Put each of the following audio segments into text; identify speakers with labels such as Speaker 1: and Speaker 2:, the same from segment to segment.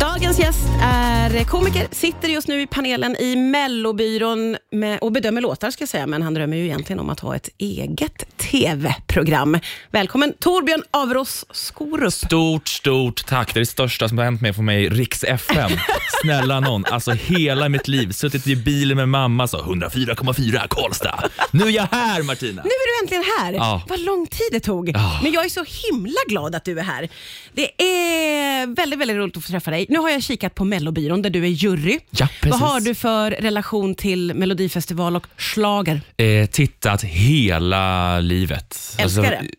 Speaker 1: Dagens gäst är komiker, sitter just nu i panelen i Mellobyrån med, och bedömer låtar, ska jag säga, men han drömmer ju egentligen om att ha ett eget tv-program. Välkommen Torbjörn Averås Skorup.
Speaker 2: Stort, stort tack. Det är det största som har hänt mig för mig, Riks FM. Snälla någon, alltså hela mitt liv. Suttit i bilen med mamma, så 104,4 Karlstad. Nu är jag här Martina.
Speaker 1: Nu är du äntligen här.
Speaker 2: Ja.
Speaker 1: Vad lång tid det tog.
Speaker 2: Ja.
Speaker 1: Men jag är så himla glad att du är här. Det är väldigt, väldigt roligt att få träffa dig. Nu har jag kikat på Mellobyrån där du är jury.
Speaker 2: Ja,
Speaker 1: Vad
Speaker 2: precis.
Speaker 1: har du för relation till Melodifestival och schlager?
Speaker 2: Eh, tittat hela livet. Alltså,
Speaker 1: Älskar det.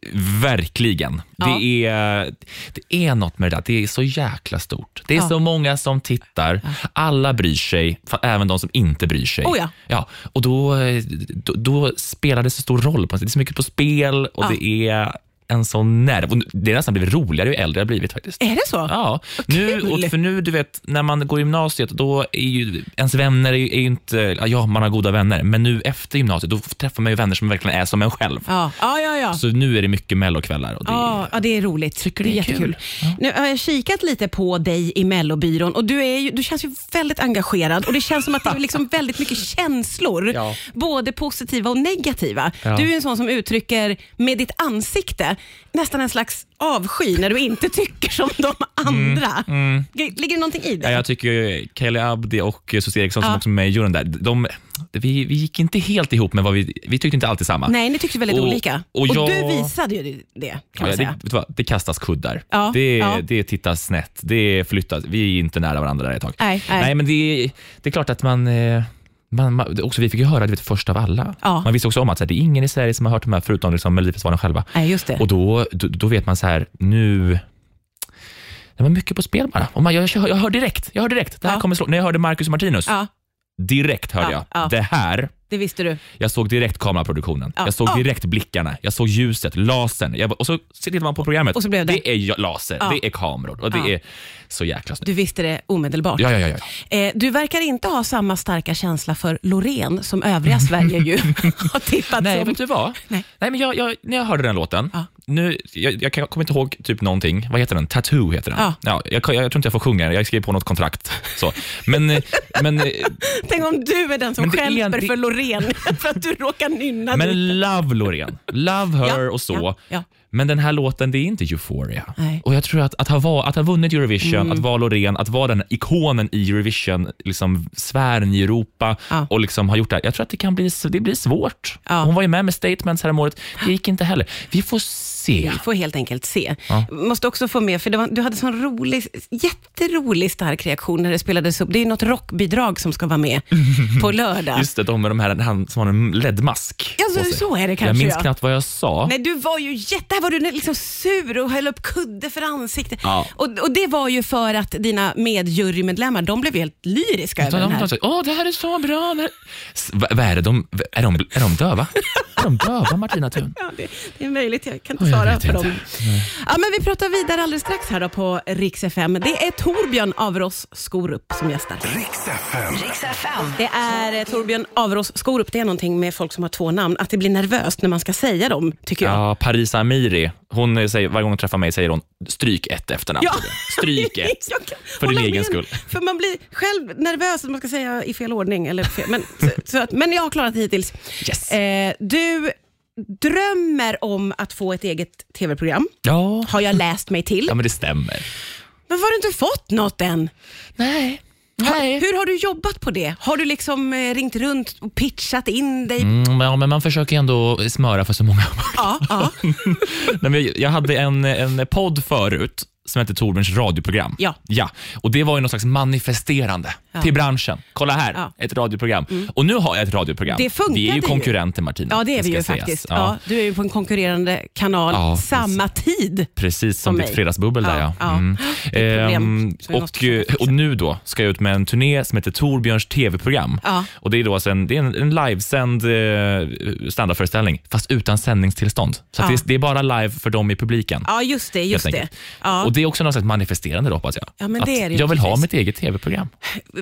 Speaker 2: Verkligen.
Speaker 1: Ja.
Speaker 2: Det, är, det är något med det där. Det är så jäkla stort. Det är
Speaker 1: Ja.
Speaker 2: så många som tittar. Alla bryr sig, fa- även de som inte bryr sig.
Speaker 1: Oh ja.
Speaker 2: Ja, och då, eh, då, då spelar det så stor roll. på något sätt. Det är så mycket på spel och
Speaker 1: Ja.
Speaker 2: det är en sån nerv. Och det har nästan blivit roligare ju äldre jag har blivit faktiskt.
Speaker 1: Är det så?
Speaker 2: Ja, nu, och
Speaker 1: kul.
Speaker 2: för nu du vet, när man går i gymnasiet, då är ju ens vänner är ju, är ju inte, ja, ja man har goda vänner, men nu efter gymnasiet, då träffar man ju vänner som verkligen är som en själv.
Speaker 1: Ja, ja, ja. ja.
Speaker 2: Så nu är det mycket mellokvällar och det
Speaker 1: Ja, ja, det är roligt. Tycker det är,
Speaker 2: det är
Speaker 1: jättekul. Nu har jag kikat lite på dig i Mellobyrån och du, är ju, du känns ju väldigt engagerad och det känns som att det är liksom väldigt mycket känslor,
Speaker 2: Ja.
Speaker 1: både positiva och negativa.
Speaker 2: Ja.
Speaker 1: Du är en sån som uttrycker med ditt ansikte nästan en slags avsky när du inte tycker som de andra. Ligger det någonting i det?
Speaker 2: Mm, Ja, jag tycker ju Kelly Abdi och Susie Eriksson som
Speaker 1: Ja.
Speaker 2: också är med i juryn där, de, vi, vi gick inte helt ihop med vad vi, vi tyckte inte alltid samma.
Speaker 1: Nej, ni tyckte väldigt
Speaker 2: Och-
Speaker 1: olika.
Speaker 2: och jag-
Speaker 1: du visade ju det, kan
Speaker 2: Ja,
Speaker 1: man
Speaker 2: det,
Speaker 1: säga.
Speaker 2: vet du vad, det kastas kuddar,
Speaker 1: Ja,
Speaker 2: det,
Speaker 1: ja.
Speaker 2: det tittas snett, det flyttas. Vi är inte nära varandra där ett tag.
Speaker 1: Nej, nej.
Speaker 2: men det, det är klart att man, eh, man, man också vi fick ju höra det först av alla.
Speaker 1: Ja.
Speaker 2: Man visste också om att så här, det är ingen i Sverige som har hört de här förutom liksom, Melodifestivalen själva.
Speaker 1: Nej, just det.
Speaker 2: Och då, då, då vet man så här, nu... Det var mycket på spel bara. Och man, jag, jag, hör- jag hör direkt, jag hör direkt. Det här
Speaker 1: Ja.
Speaker 2: kommer slå. När jag hörde Marcus och Martinus,
Speaker 1: Ja,
Speaker 2: direkt hörde
Speaker 1: Ja,
Speaker 2: jag.
Speaker 1: ja.
Speaker 2: Det här
Speaker 1: det visste du.
Speaker 2: jag såg direkt kameraproduktionen,
Speaker 1: Ja.
Speaker 2: jag såg
Speaker 1: Ja.
Speaker 2: direkt blickarna, jag såg ljuset, lasern. Jag, bara- och så tittar man på programmet.
Speaker 1: Och så blev det.
Speaker 2: är ju laser,
Speaker 1: Ja.
Speaker 2: det är kameror och det
Speaker 1: Ja.
Speaker 2: är så jäkla snyggt.
Speaker 1: Du visste det omedelbart.
Speaker 2: Ja, ja, ja, ja.
Speaker 1: Eh, du verkar inte ha samma starka känsla för Loreen som övriga Sverige ju har tippat
Speaker 2: Nej,
Speaker 1: som.
Speaker 2: vet du vad?
Speaker 1: Nej.
Speaker 2: Nej. men jag, jag, när jag hörde den låten,
Speaker 1: Ja.
Speaker 2: nu, jag, jag, kan- jag kommer inte ihåg typ någonting. Vad heter den? Tattoo heter den.
Speaker 1: Ja.
Speaker 2: jag, kan- jag tror inte jag får sjunga den, jag skrev på något kontrakt. Så. Men, eh, men, eh,
Speaker 1: Tänk om du är den som
Speaker 2: Men det är
Speaker 1: stjälper
Speaker 2: en- det-
Speaker 1: för Loreen för att du råkar nynna. du.
Speaker 2: men love Loreen, love her
Speaker 1: Ja,
Speaker 2: och så.
Speaker 1: ja, ja.
Speaker 2: Men den här låten, det är inte Euphoria.
Speaker 1: Nej. Mm.
Speaker 2: Och jag tror att, att, ha, va- att ha vunnit Eurovision, att vara Loreen, att vara den ikonen i Eurovision, liksom sfären i Europa
Speaker 1: Ja.
Speaker 2: och liksom ha gjort det här. Jag tror att det kan bli, s- det blir svårt.
Speaker 1: Ja.
Speaker 2: Hon var ju med med Statements här om året. Det gick inte heller. Vi får se.
Speaker 1: Vi får helt enkelt se.
Speaker 2: Ja.
Speaker 1: Måste också få med, för det var, du hade sån rolig, jätterolig stark reaktion när det spelades upp. Det är något rockbidrag som ska vara med på lördag.
Speaker 2: Just det, de med de här, han som har en LED-mask
Speaker 1: Ja, så-
Speaker 2: på sig.
Speaker 1: så är det kanske,
Speaker 2: Jag minns
Speaker 1: ja.
Speaker 2: knappt vad jag sa.
Speaker 1: Nej, du var ju jätte... Här var du liksom sur och höll upp kudde för ansiktet.
Speaker 2: Ja.
Speaker 1: Och, och det var ju för att dina medjurymedlemmar, de blev ju helt lyriska över
Speaker 2: Så
Speaker 1: den
Speaker 2: de
Speaker 1: här.
Speaker 2: de sa, åh det här är så bra. Det här- S- vad- vad är det? De, är, de, är de döva? är de döva, Martina Thun?
Speaker 1: Ja, det, det är möjligt. Jag kan inte
Speaker 2: Oj, jag
Speaker 1: svara
Speaker 2: vet
Speaker 1: på
Speaker 2: inte.
Speaker 1: dem. Ja, men vi pratar vidare alldeles strax här då på Rix FM. Det är Torbjörn Averås Skorup som gästar.
Speaker 3: Riks FM.
Speaker 1: Det är eh, Torbjörn Averås Skorup. Det är någonting med folk som har två namn, att det blir nervöst när man ska säga dem, tycker jag.
Speaker 2: Ja, Paris Amiri. Hon eh, säger, varje gång hon träffar mig säger hon, stryk ett efternamn.
Speaker 1: Ja.
Speaker 2: Stryk ett.
Speaker 1: Jag kan
Speaker 2: För din
Speaker 1: hålla
Speaker 2: egen
Speaker 1: med.
Speaker 2: skull.
Speaker 1: För man blir själv nervös att man ska säga i fel ordning. Eller fel, men, så, så att, men jag har klarat det hittills.
Speaker 2: Yes.
Speaker 1: Eh, du drömmer om att få ett eget tv-program,
Speaker 2: Ja.
Speaker 1: har jag läst mig till.
Speaker 2: ja, men det stämmer.
Speaker 1: Men har du inte fått något än?
Speaker 2: Nej. Nej.
Speaker 1: Hur har du jobbat på det? Har du liksom eh, ringt runt och pitchat in dig?
Speaker 2: Mm, ja, men man försöker ändå smöra för så många.
Speaker 1: Ja, ja,
Speaker 2: Nej, men jag- jag hade en, en podd förut som hette Torbjörns radioprogram.
Speaker 1: Ja.
Speaker 2: ja. Och Det var ju någon slags manifesterande till branschen. Kolla här,
Speaker 1: Ja. Mm.
Speaker 2: ett radioprogram. Och nu har jag ett radioprogram.
Speaker 1: Det funkade
Speaker 2: vi är
Speaker 1: ju.
Speaker 2: ju konkurrenter Martina.
Speaker 1: ja, det är vi
Speaker 2: ska
Speaker 1: ju
Speaker 2: sägas.
Speaker 1: faktiskt. Ja.
Speaker 2: Ja.
Speaker 1: du är ju på en konkurrerande kanal
Speaker 2: Ja,
Speaker 1: samma tid.
Speaker 2: Precis
Speaker 1: Som
Speaker 2: som
Speaker 1: mig.
Speaker 2: ditt fredagsbubbel där
Speaker 1: Ja,
Speaker 2: ja.
Speaker 1: ja.
Speaker 2: Mm.
Speaker 1: Det är ett problem
Speaker 2: Ehm,
Speaker 1: som vi måste
Speaker 2: och, eh, och nu då ska jag ut med en turné som heter Torbjörns TV-program.
Speaker 1: Ja.
Speaker 2: Och det är då alltså en, det är en, en livesänd eh, standardföreställning fast utan sändningstillstånd. Så att
Speaker 1: Ja.
Speaker 2: det, är- det är bara live för dem i publiken.
Speaker 1: Ja, just det. Just
Speaker 2: helt
Speaker 1: det.
Speaker 2: enkelt.
Speaker 1: Ja.
Speaker 2: Och det är också något slags manifesterande då hoppas jag.
Speaker 1: Ja, men
Speaker 2: att
Speaker 1: det är det ju
Speaker 2: jag vill ha
Speaker 1: precis.
Speaker 2: mitt eget TV-program.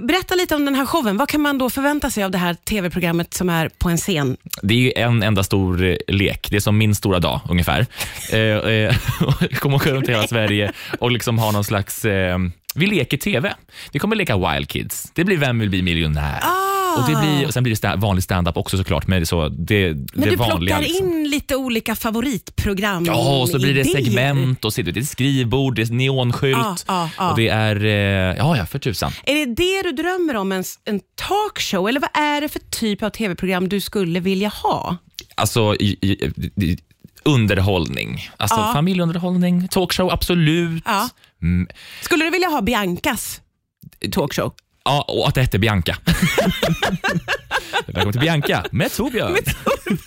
Speaker 1: Berätta lite om den här showen. Vad kan man då förvänta sig av det här tv-programmet som är på en scen?
Speaker 2: Det är ju en enda stor eh, lek. Det är som min stora dag ungefär. Eh, eh, och jag kommer åka runt i hela Sverige och liksom ha någon slags eh, Vi leker TV. Vi kommer leka Wild Kids. Det blir Vem vill bli miljonär?
Speaker 1: Ah.
Speaker 2: Och, det blir, och Sen blir det sta- vanlig stand-up också såklart. Men, så, det,
Speaker 1: Men
Speaker 2: det
Speaker 1: du
Speaker 2: vanliga,
Speaker 1: plockar
Speaker 2: liksom.
Speaker 1: in lite olika favoritprogram
Speaker 2: Ja, och så blir det
Speaker 1: idéer.
Speaker 2: segment och så, det är ett skrivbord, det är neonskylt.
Speaker 1: Ja, ja, ja.
Speaker 2: Och det är, eh, ja, ja för tusan.
Speaker 1: Är det det du drömmer om, en, en talkshow? Eller vad är det för typ av tv-program du skulle vilja ha?
Speaker 2: Alltså, i, i, i, underhållning. Alltså
Speaker 1: Ja.
Speaker 2: familjeunderhållning, talkshow, absolut.
Speaker 1: Ja.
Speaker 2: Mm,
Speaker 1: Skulle du vilja ha Biancas talkshow?
Speaker 2: Ja, och att det hette Bianca. Välkommen till Bianca med Torbjörn.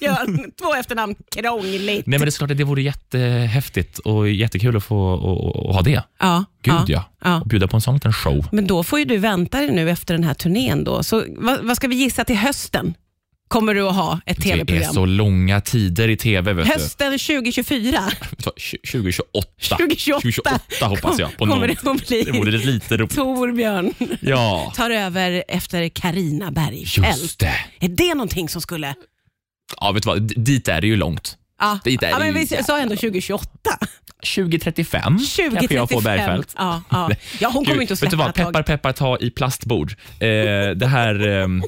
Speaker 1: Björn, två efternamn, krångligt.
Speaker 2: Nej, men det är klart att det vore jättehäftigt och jättekul att få och, och, och ha det.
Speaker 1: Ja,
Speaker 2: Gud
Speaker 1: ja.
Speaker 2: ja. Och bjuda på en sån liten show.
Speaker 1: Men då får ju du vänta dig nu efter den här turnén. Då. Så, vad, vad ska vi gissa till hösten? Kommer du att ha ett
Speaker 2: Det är
Speaker 1: tv-program?
Speaker 2: så långa tider i tv. Vet du.
Speaker 1: Hösten 2024
Speaker 2: Så, tj- 2028.
Speaker 1: 2028.
Speaker 2: 2028 hoppas jag. På
Speaker 1: kommer
Speaker 2: något.
Speaker 1: det att bli.
Speaker 2: Det vore lite roligt.
Speaker 1: Torbjörn
Speaker 2: Ja,
Speaker 1: tar över efter Karina Bergfeldt.
Speaker 2: just det.
Speaker 1: Är det någonting som skulle...
Speaker 2: Ja, vet du vad? D- dit är det ju långt.
Speaker 1: Ja,
Speaker 2: Det där
Speaker 1: ja
Speaker 2: är
Speaker 1: men
Speaker 2: ju
Speaker 1: vi sa ändå 2028.
Speaker 2: 2035 kanske jag får
Speaker 1: 2035.
Speaker 2: Bergfeldt.
Speaker 1: Ja, ja. ja, hon kommer
Speaker 2: Gud,
Speaker 1: inte att
Speaker 2: vet du
Speaker 1: släppa
Speaker 2: vad? Peppar,
Speaker 1: taget.
Speaker 2: peppar, ta i plastbord. Eh, det här... ehm,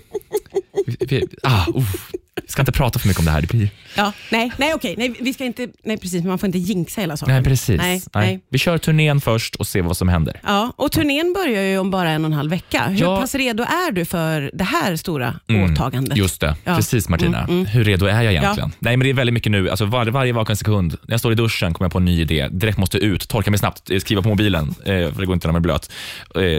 Speaker 2: vi, vi, ah, uh, vi ska inte prata för mycket om det här. Det blir,
Speaker 1: Ja, nej, nej, okej. Nej, vi ska inte, nej, precis. Man får inte jinxa hela saken.
Speaker 2: nej, precis.
Speaker 1: Nej, nej.
Speaker 2: Vi kör turnén först och ser vad som händer.
Speaker 1: Ja, och turnén börjar ju om bara en och en halv vecka. Hur
Speaker 2: Ja. Mm.
Speaker 1: pass redo är du för det här stora åtagandet?
Speaker 2: Just det.
Speaker 1: Ja. Mm,
Speaker 2: Precis, Martina. Hur redo är jag egentligen? Nej, men Det är väldigt mycket nu. Alltså, var, varje vaken sekund. När jag står i duschen kommer jag på en ny idé. Direkt måste ut, torka mig snabbt, eh, skriva på mobilen, eh, för det går inte när man är blöt.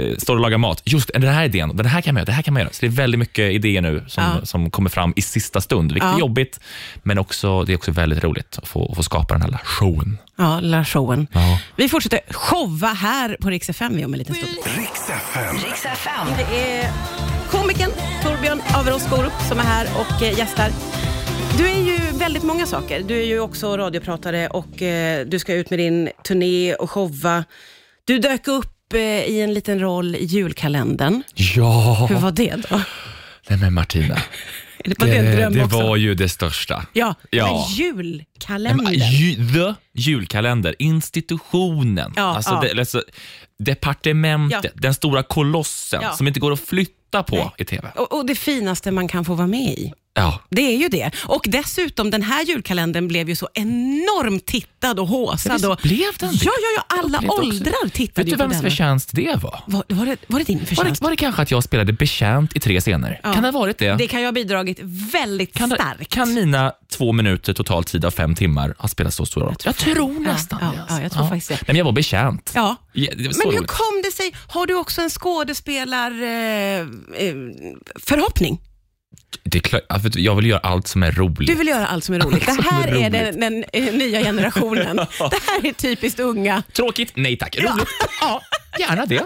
Speaker 2: Eh, står och lagar mat. Just den här idén, den här kan man göra. Det här kan man göra. Så det är väldigt mycket idéer nu som, som kommer fram i sista stund, vilket
Speaker 1: Ja.
Speaker 2: är jobbigt. Men också, det är också väldigt roligt att få, att få skapa den här lilla showen.
Speaker 1: Ja, lilla showen.
Speaker 2: Ja.
Speaker 1: Vi fortsätter showa här på Rix FM vi om en liten stund.
Speaker 3: Riks FM.
Speaker 4: Riks FM.
Speaker 1: Det är komikern Torbjörn Averås Skorup som är här och eh, gästar. Du är ju väldigt många saker. Du är ju också radiopratare och eh, du ska ut med din turné och showa. Du dök upp eh, i en liten roll i julkalendern.
Speaker 2: Ja!
Speaker 1: Hur var det då?
Speaker 2: Nej, men Martina.
Speaker 1: Var det en dröm
Speaker 2: Eh, det
Speaker 1: också?
Speaker 2: var ju det största.
Speaker 1: Ja,
Speaker 2: Ja.
Speaker 1: men julkalendern.
Speaker 2: Ju, the julkalender, institutionen,
Speaker 1: Ja,
Speaker 2: alltså,
Speaker 1: ja.
Speaker 2: Det, alltså departementet,
Speaker 1: Ja.
Speaker 2: den stora kolossen
Speaker 1: Ja.
Speaker 2: som inte går att flytta på
Speaker 1: Nej.
Speaker 2: i TV.
Speaker 1: och, och det finaste man kan få vara med i.
Speaker 2: Ja.
Speaker 1: Det är ju det. Och dessutom, den här julkalendern blev ju så enormt tittad och håsad.
Speaker 2: visst
Speaker 1: Och,
Speaker 2: blev den det?
Speaker 1: Ja, ja, ja. Alla
Speaker 2: upplevde också-
Speaker 1: åldrar tittade
Speaker 2: Vet
Speaker 1: ju
Speaker 2: du
Speaker 1: på
Speaker 2: vems
Speaker 1: den.
Speaker 2: förtjänst det var?
Speaker 1: Var, var, det, var det din
Speaker 2: Var
Speaker 1: förtjänst?
Speaker 2: det, var det kanske att jag spelade betjänt i tre scener? Kan det ha varit det?
Speaker 1: Det kan ju ha bidragit väldigt
Speaker 2: kan, det-
Speaker 1: starkt.
Speaker 2: kan mina två minuter total tid av fem timmar ha spelat så stor roll? Jag tror, nästan
Speaker 1: ja,
Speaker 2: det.
Speaker 1: ja,
Speaker 2: alltså.
Speaker 1: jag tror faktiskt det.
Speaker 2: Nej, men jag var betjänt.
Speaker 1: Ja.
Speaker 2: Ja, det var så
Speaker 1: Men hur
Speaker 2: roligt.
Speaker 1: kom det sig? Har du också en skådespelarförhoppning? Eh, förhoppning?
Speaker 2: Det är klart, ja, för jag vill göra allt som är roligt.
Speaker 1: du vill göra allt som är roligt. Det här
Speaker 2: som är
Speaker 1: är den, den eh, nya generationen. Det här är typiskt unga.
Speaker 2: Tråkigt? Nej tack. Roligt? Ja, gärna det.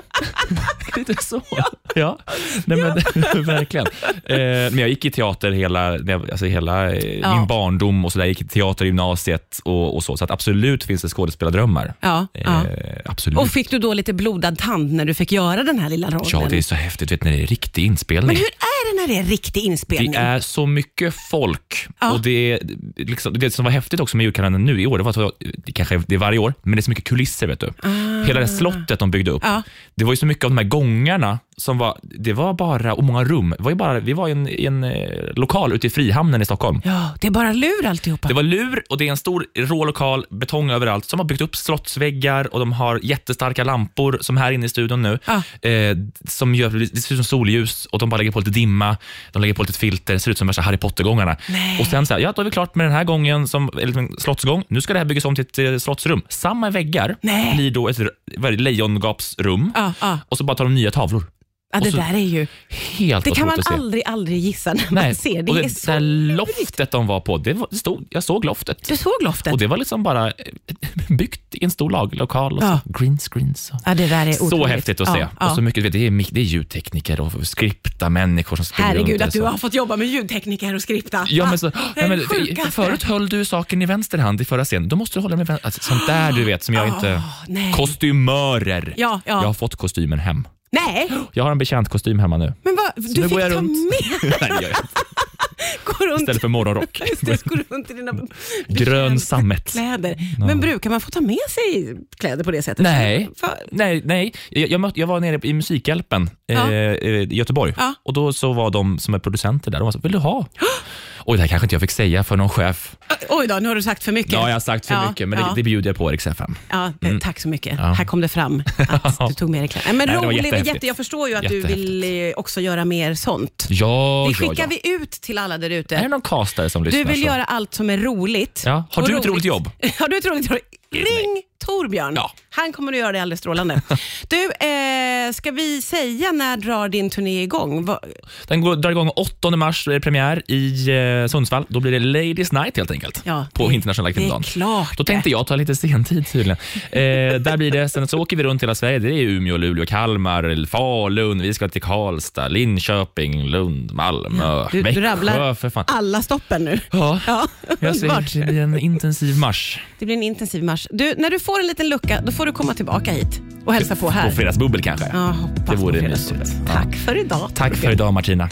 Speaker 2: Lite så. Ja. Nej, men, verkligen. Eh, men jag gick i teater hela, när jag- alltså hela eh,
Speaker 1: Ja.
Speaker 2: min barndom och så där. Jag gick i teater i gymnasiet och, och så. Så att absolut finns det skådespelardrömmar.
Speaker 1: Ja,
Speaker 2: Eh,
Speaker 1: ja.
Speaker 2: Absolut.
Speaker 1: Och fick du då lite blodad tand när du fick göra den här lilla rollen?
Speaker 2: ja, det är så häftigt vet, ni, när det är riktig
Speaker 1: Men
Speaker 2: inspelning.
Speaker 1: hur är det när det är riktig inspelning?
Speaker 2: Det är så mycket folk.
Speaker 1: Ja.
Speaker 2: Och det, liksom, det som var häftigt också med julkalendern nu i år, det var att det kanske det är varje år, men det är så mycket kulisser. vet du. Hela det slottet de byggde upp.
Speaker 1: Ah. Ja.
Speaker 2: Det var ju så mycket av de här gångarna, som var, det var bara, och många rum. Det var ju bara, vi var i en, i en eh, lokal ute i Frihamnen i Stockholm.
Speaker 1: Ja, det är bara lur alltihopa.
Speaker 2: Det var lur och det är en stor rå lokal, betong överallt, som har byggt upp slottsväggar och de har jättestarka lampor, som här inne i studion nu,
Speaker 1: Ja.
Speaker 2: eh, som gör, det ser ut som solljus och de bara lägger på lite dimma, de lägger på lite filter, det ser ut som värsta Harry Potter-gångarna.
Speaker 1: Nej.
Speaker 2: Och sen så här, ja då är vi klart med den här gången, som eller en slottsgång, nu ska det här byggas om till ett eh, slottsrum. Samma väggar
Speaker 1: Nej. Ah.
Speaker 2: blir då ett r- vad är det, lejongapsrum
Speaker 1: Ja, ja.
Speaker 2: och så bara tar de nya tavlor.
Speaker 1: ja, det
Speaker 2: och så-
Speaker 1: där är ju...
Speaker 2: Helt
Speaker 1: Det kan man
Speaker 2: otroligt att se.
Speaker 1: aldrig, aldrig gissa när man
Speaker 2: Nej.
Speaker 1: ser. Det,
Speaker 2: och det
Speaker 1: är så...
Speaker 2: där loftet de var på, det var, det stod, jag såg loftet.
Speaker 1: Du såg loftet?
Speaker 2: Och det var liksom bara eh, byggt i en stor lag- lokal och
Speaker 1: Ja.
Speaker 2: så green screens. Och.
Speaker 1: Ja, det där är otroligt.
Speaker 2: Så häftigt att se.
Speaker 1: Ja, ja.
Speaker 2: Och så mycket, vet, du, det, är, mik- det är ljudtekniker och skripta människor som springer runt.
Speaker 1: Herregud
Speaker 2: där
Speaker 1: att du
Speaker 2: så.
Speaker 1: har fått jobba med ljudtekniker och skripta.
Speaker 2: alltså. Ja, men så,
Speaker 1: Ah, det
Speaker 2: nej,
Speaker 1: är
Speaker 2: men,
Speaker 1: det
Speaker 2: för-
Speaker 1: sjukaste.
Speaker 2: förut höll du saken i vänster hand i förra scenen. Då måste du hålla den i vänster alltså, Sånt där du vet som jag inte...
Speaker 1: Ah, nej.
Speaker 2: Kostymörer.
Speaker 1: Ja, ja.
Speaker 2: Jag har fått kostymen hem.
Speaker 1: Nej,
Speaker 2: Jag har en betjäntkostym hemma nu.
Speaker 1: men vad, du
Speaker 2: nu
Speaker 1: fick
Speaker 2: går jag
Speaker 1: ta
Speaker 2: runt.
Speaker 1: med
Speaker 2: Nej, det gör jag inte.
Speaker 1: går runt,
Speaker 2: istället för morgonrock.
Speaker 1: Just det, går runt i dina
Speaker 2: Grön sammet.
Speaker 1: kläder. Men brukar man få ta med sig kläder på det sättet?
Speaker 2: Nej.
Speaker 1: Fa-
Speaker 2: Nej, nej. Jag, jag, mötte, jag var nere i Musikhjälpen
Speaker 1: Ja.
Speaker 2: eh, eh, i Göteborg
Speaker 1: Ja.
Speaker 2: och då så var de som är producenter där, de var så, vill du ha? Oj, det här kanske inte jag fick säga för någon chef.
Speaker 1: Oj då, nu har du sagt för mycket.
Speaker 2: Ja, jag har sagt för
Speaker 1: Ja,
Speaker 2: mycket, men
Speaker 1: ja.
Speaker 2: det, det bjuder jag på Rix FM.
Speaker 1: Ja, eh, Tack så mycket. Här kom det fram att du tog med dig kläder. Nej, Men
Speaker 2: Mm. Nej, det var
Speaker 1: roligt,
Speaker 2: jättehäftigt.
Speaker 1: jätte, jag förstår ju att du vill eh, också göra mer sånt.
Speaker 2: Ja,
Speaker 1: Det
Speaker 2: ja,
Speaker 1: skickar
Speaker 2: ja.
Speaker 1: vi ut till alla där
Speaker 2: Är det
Speaker 1: ute.
Speaker 2: någon castare som lyssnar?
Speaker 1: Du vill
Speaker 2: så-
Speaker 1: göra allt som är roligt.
Speaker 2: Ja. Har
Speaker 1: och
Speaker 2: du ett roligt jobb?
Speaker 1: Har du ett roligt jobb? Ring Torbjörn.
Speaker 2: Ja.
Speaker 1: Han kommer att göra det alldeles strålande. du, eh, ska vi säga när drar din turné igång? Va-
Speaker 2: Den går, drar igång 8 mars, då är det premiär i eh, Sundsvall. Då blir det Ladies Night helt enkelt,
Speaker 1: Ja,
Speaker 2: på
Speaker 1: det-
Speaker 2: internationella
Speaker 1: det är
Speaker 2: kvinnodagen.
Speaker 1: klart
Speaker 2: Då tänkte jag ta lite sentid tydligen. Eh, där blir det, sen så åker vi runt hela Sverige. Det är Umeå, Luleå, Kalmar, Falun, vi ska till Karlstad, Linköping, Lund, Malmö,
Speaker 1: Du, du
Speaker 2: Växjö
Speaker 1: rabblar
Speaker 2: för fan.
Speaker 1: alla stoppen nu.
Speaker 2: Ja,
Speaker 1: Ja,
Speaker 2: jag
Speaker 1: underbart.
Speaker 2: ser, det blir en intensiv marsch.
Speaker 1: Det blir en intensiv marsch. Du, när du får en liten lucka, då får du komma tillbaka hit och hälsa på här.
Speaker 2: Och fredagsbubbel kanske.
Speaker 1: Ja, hoppas
Speaker 2: Det vore
Speaker 1: på fredag.
Speaker 2: mysigt. Ja.
Speaker 1: Tack för idag.
Speaker 2: Tack för idag Martina.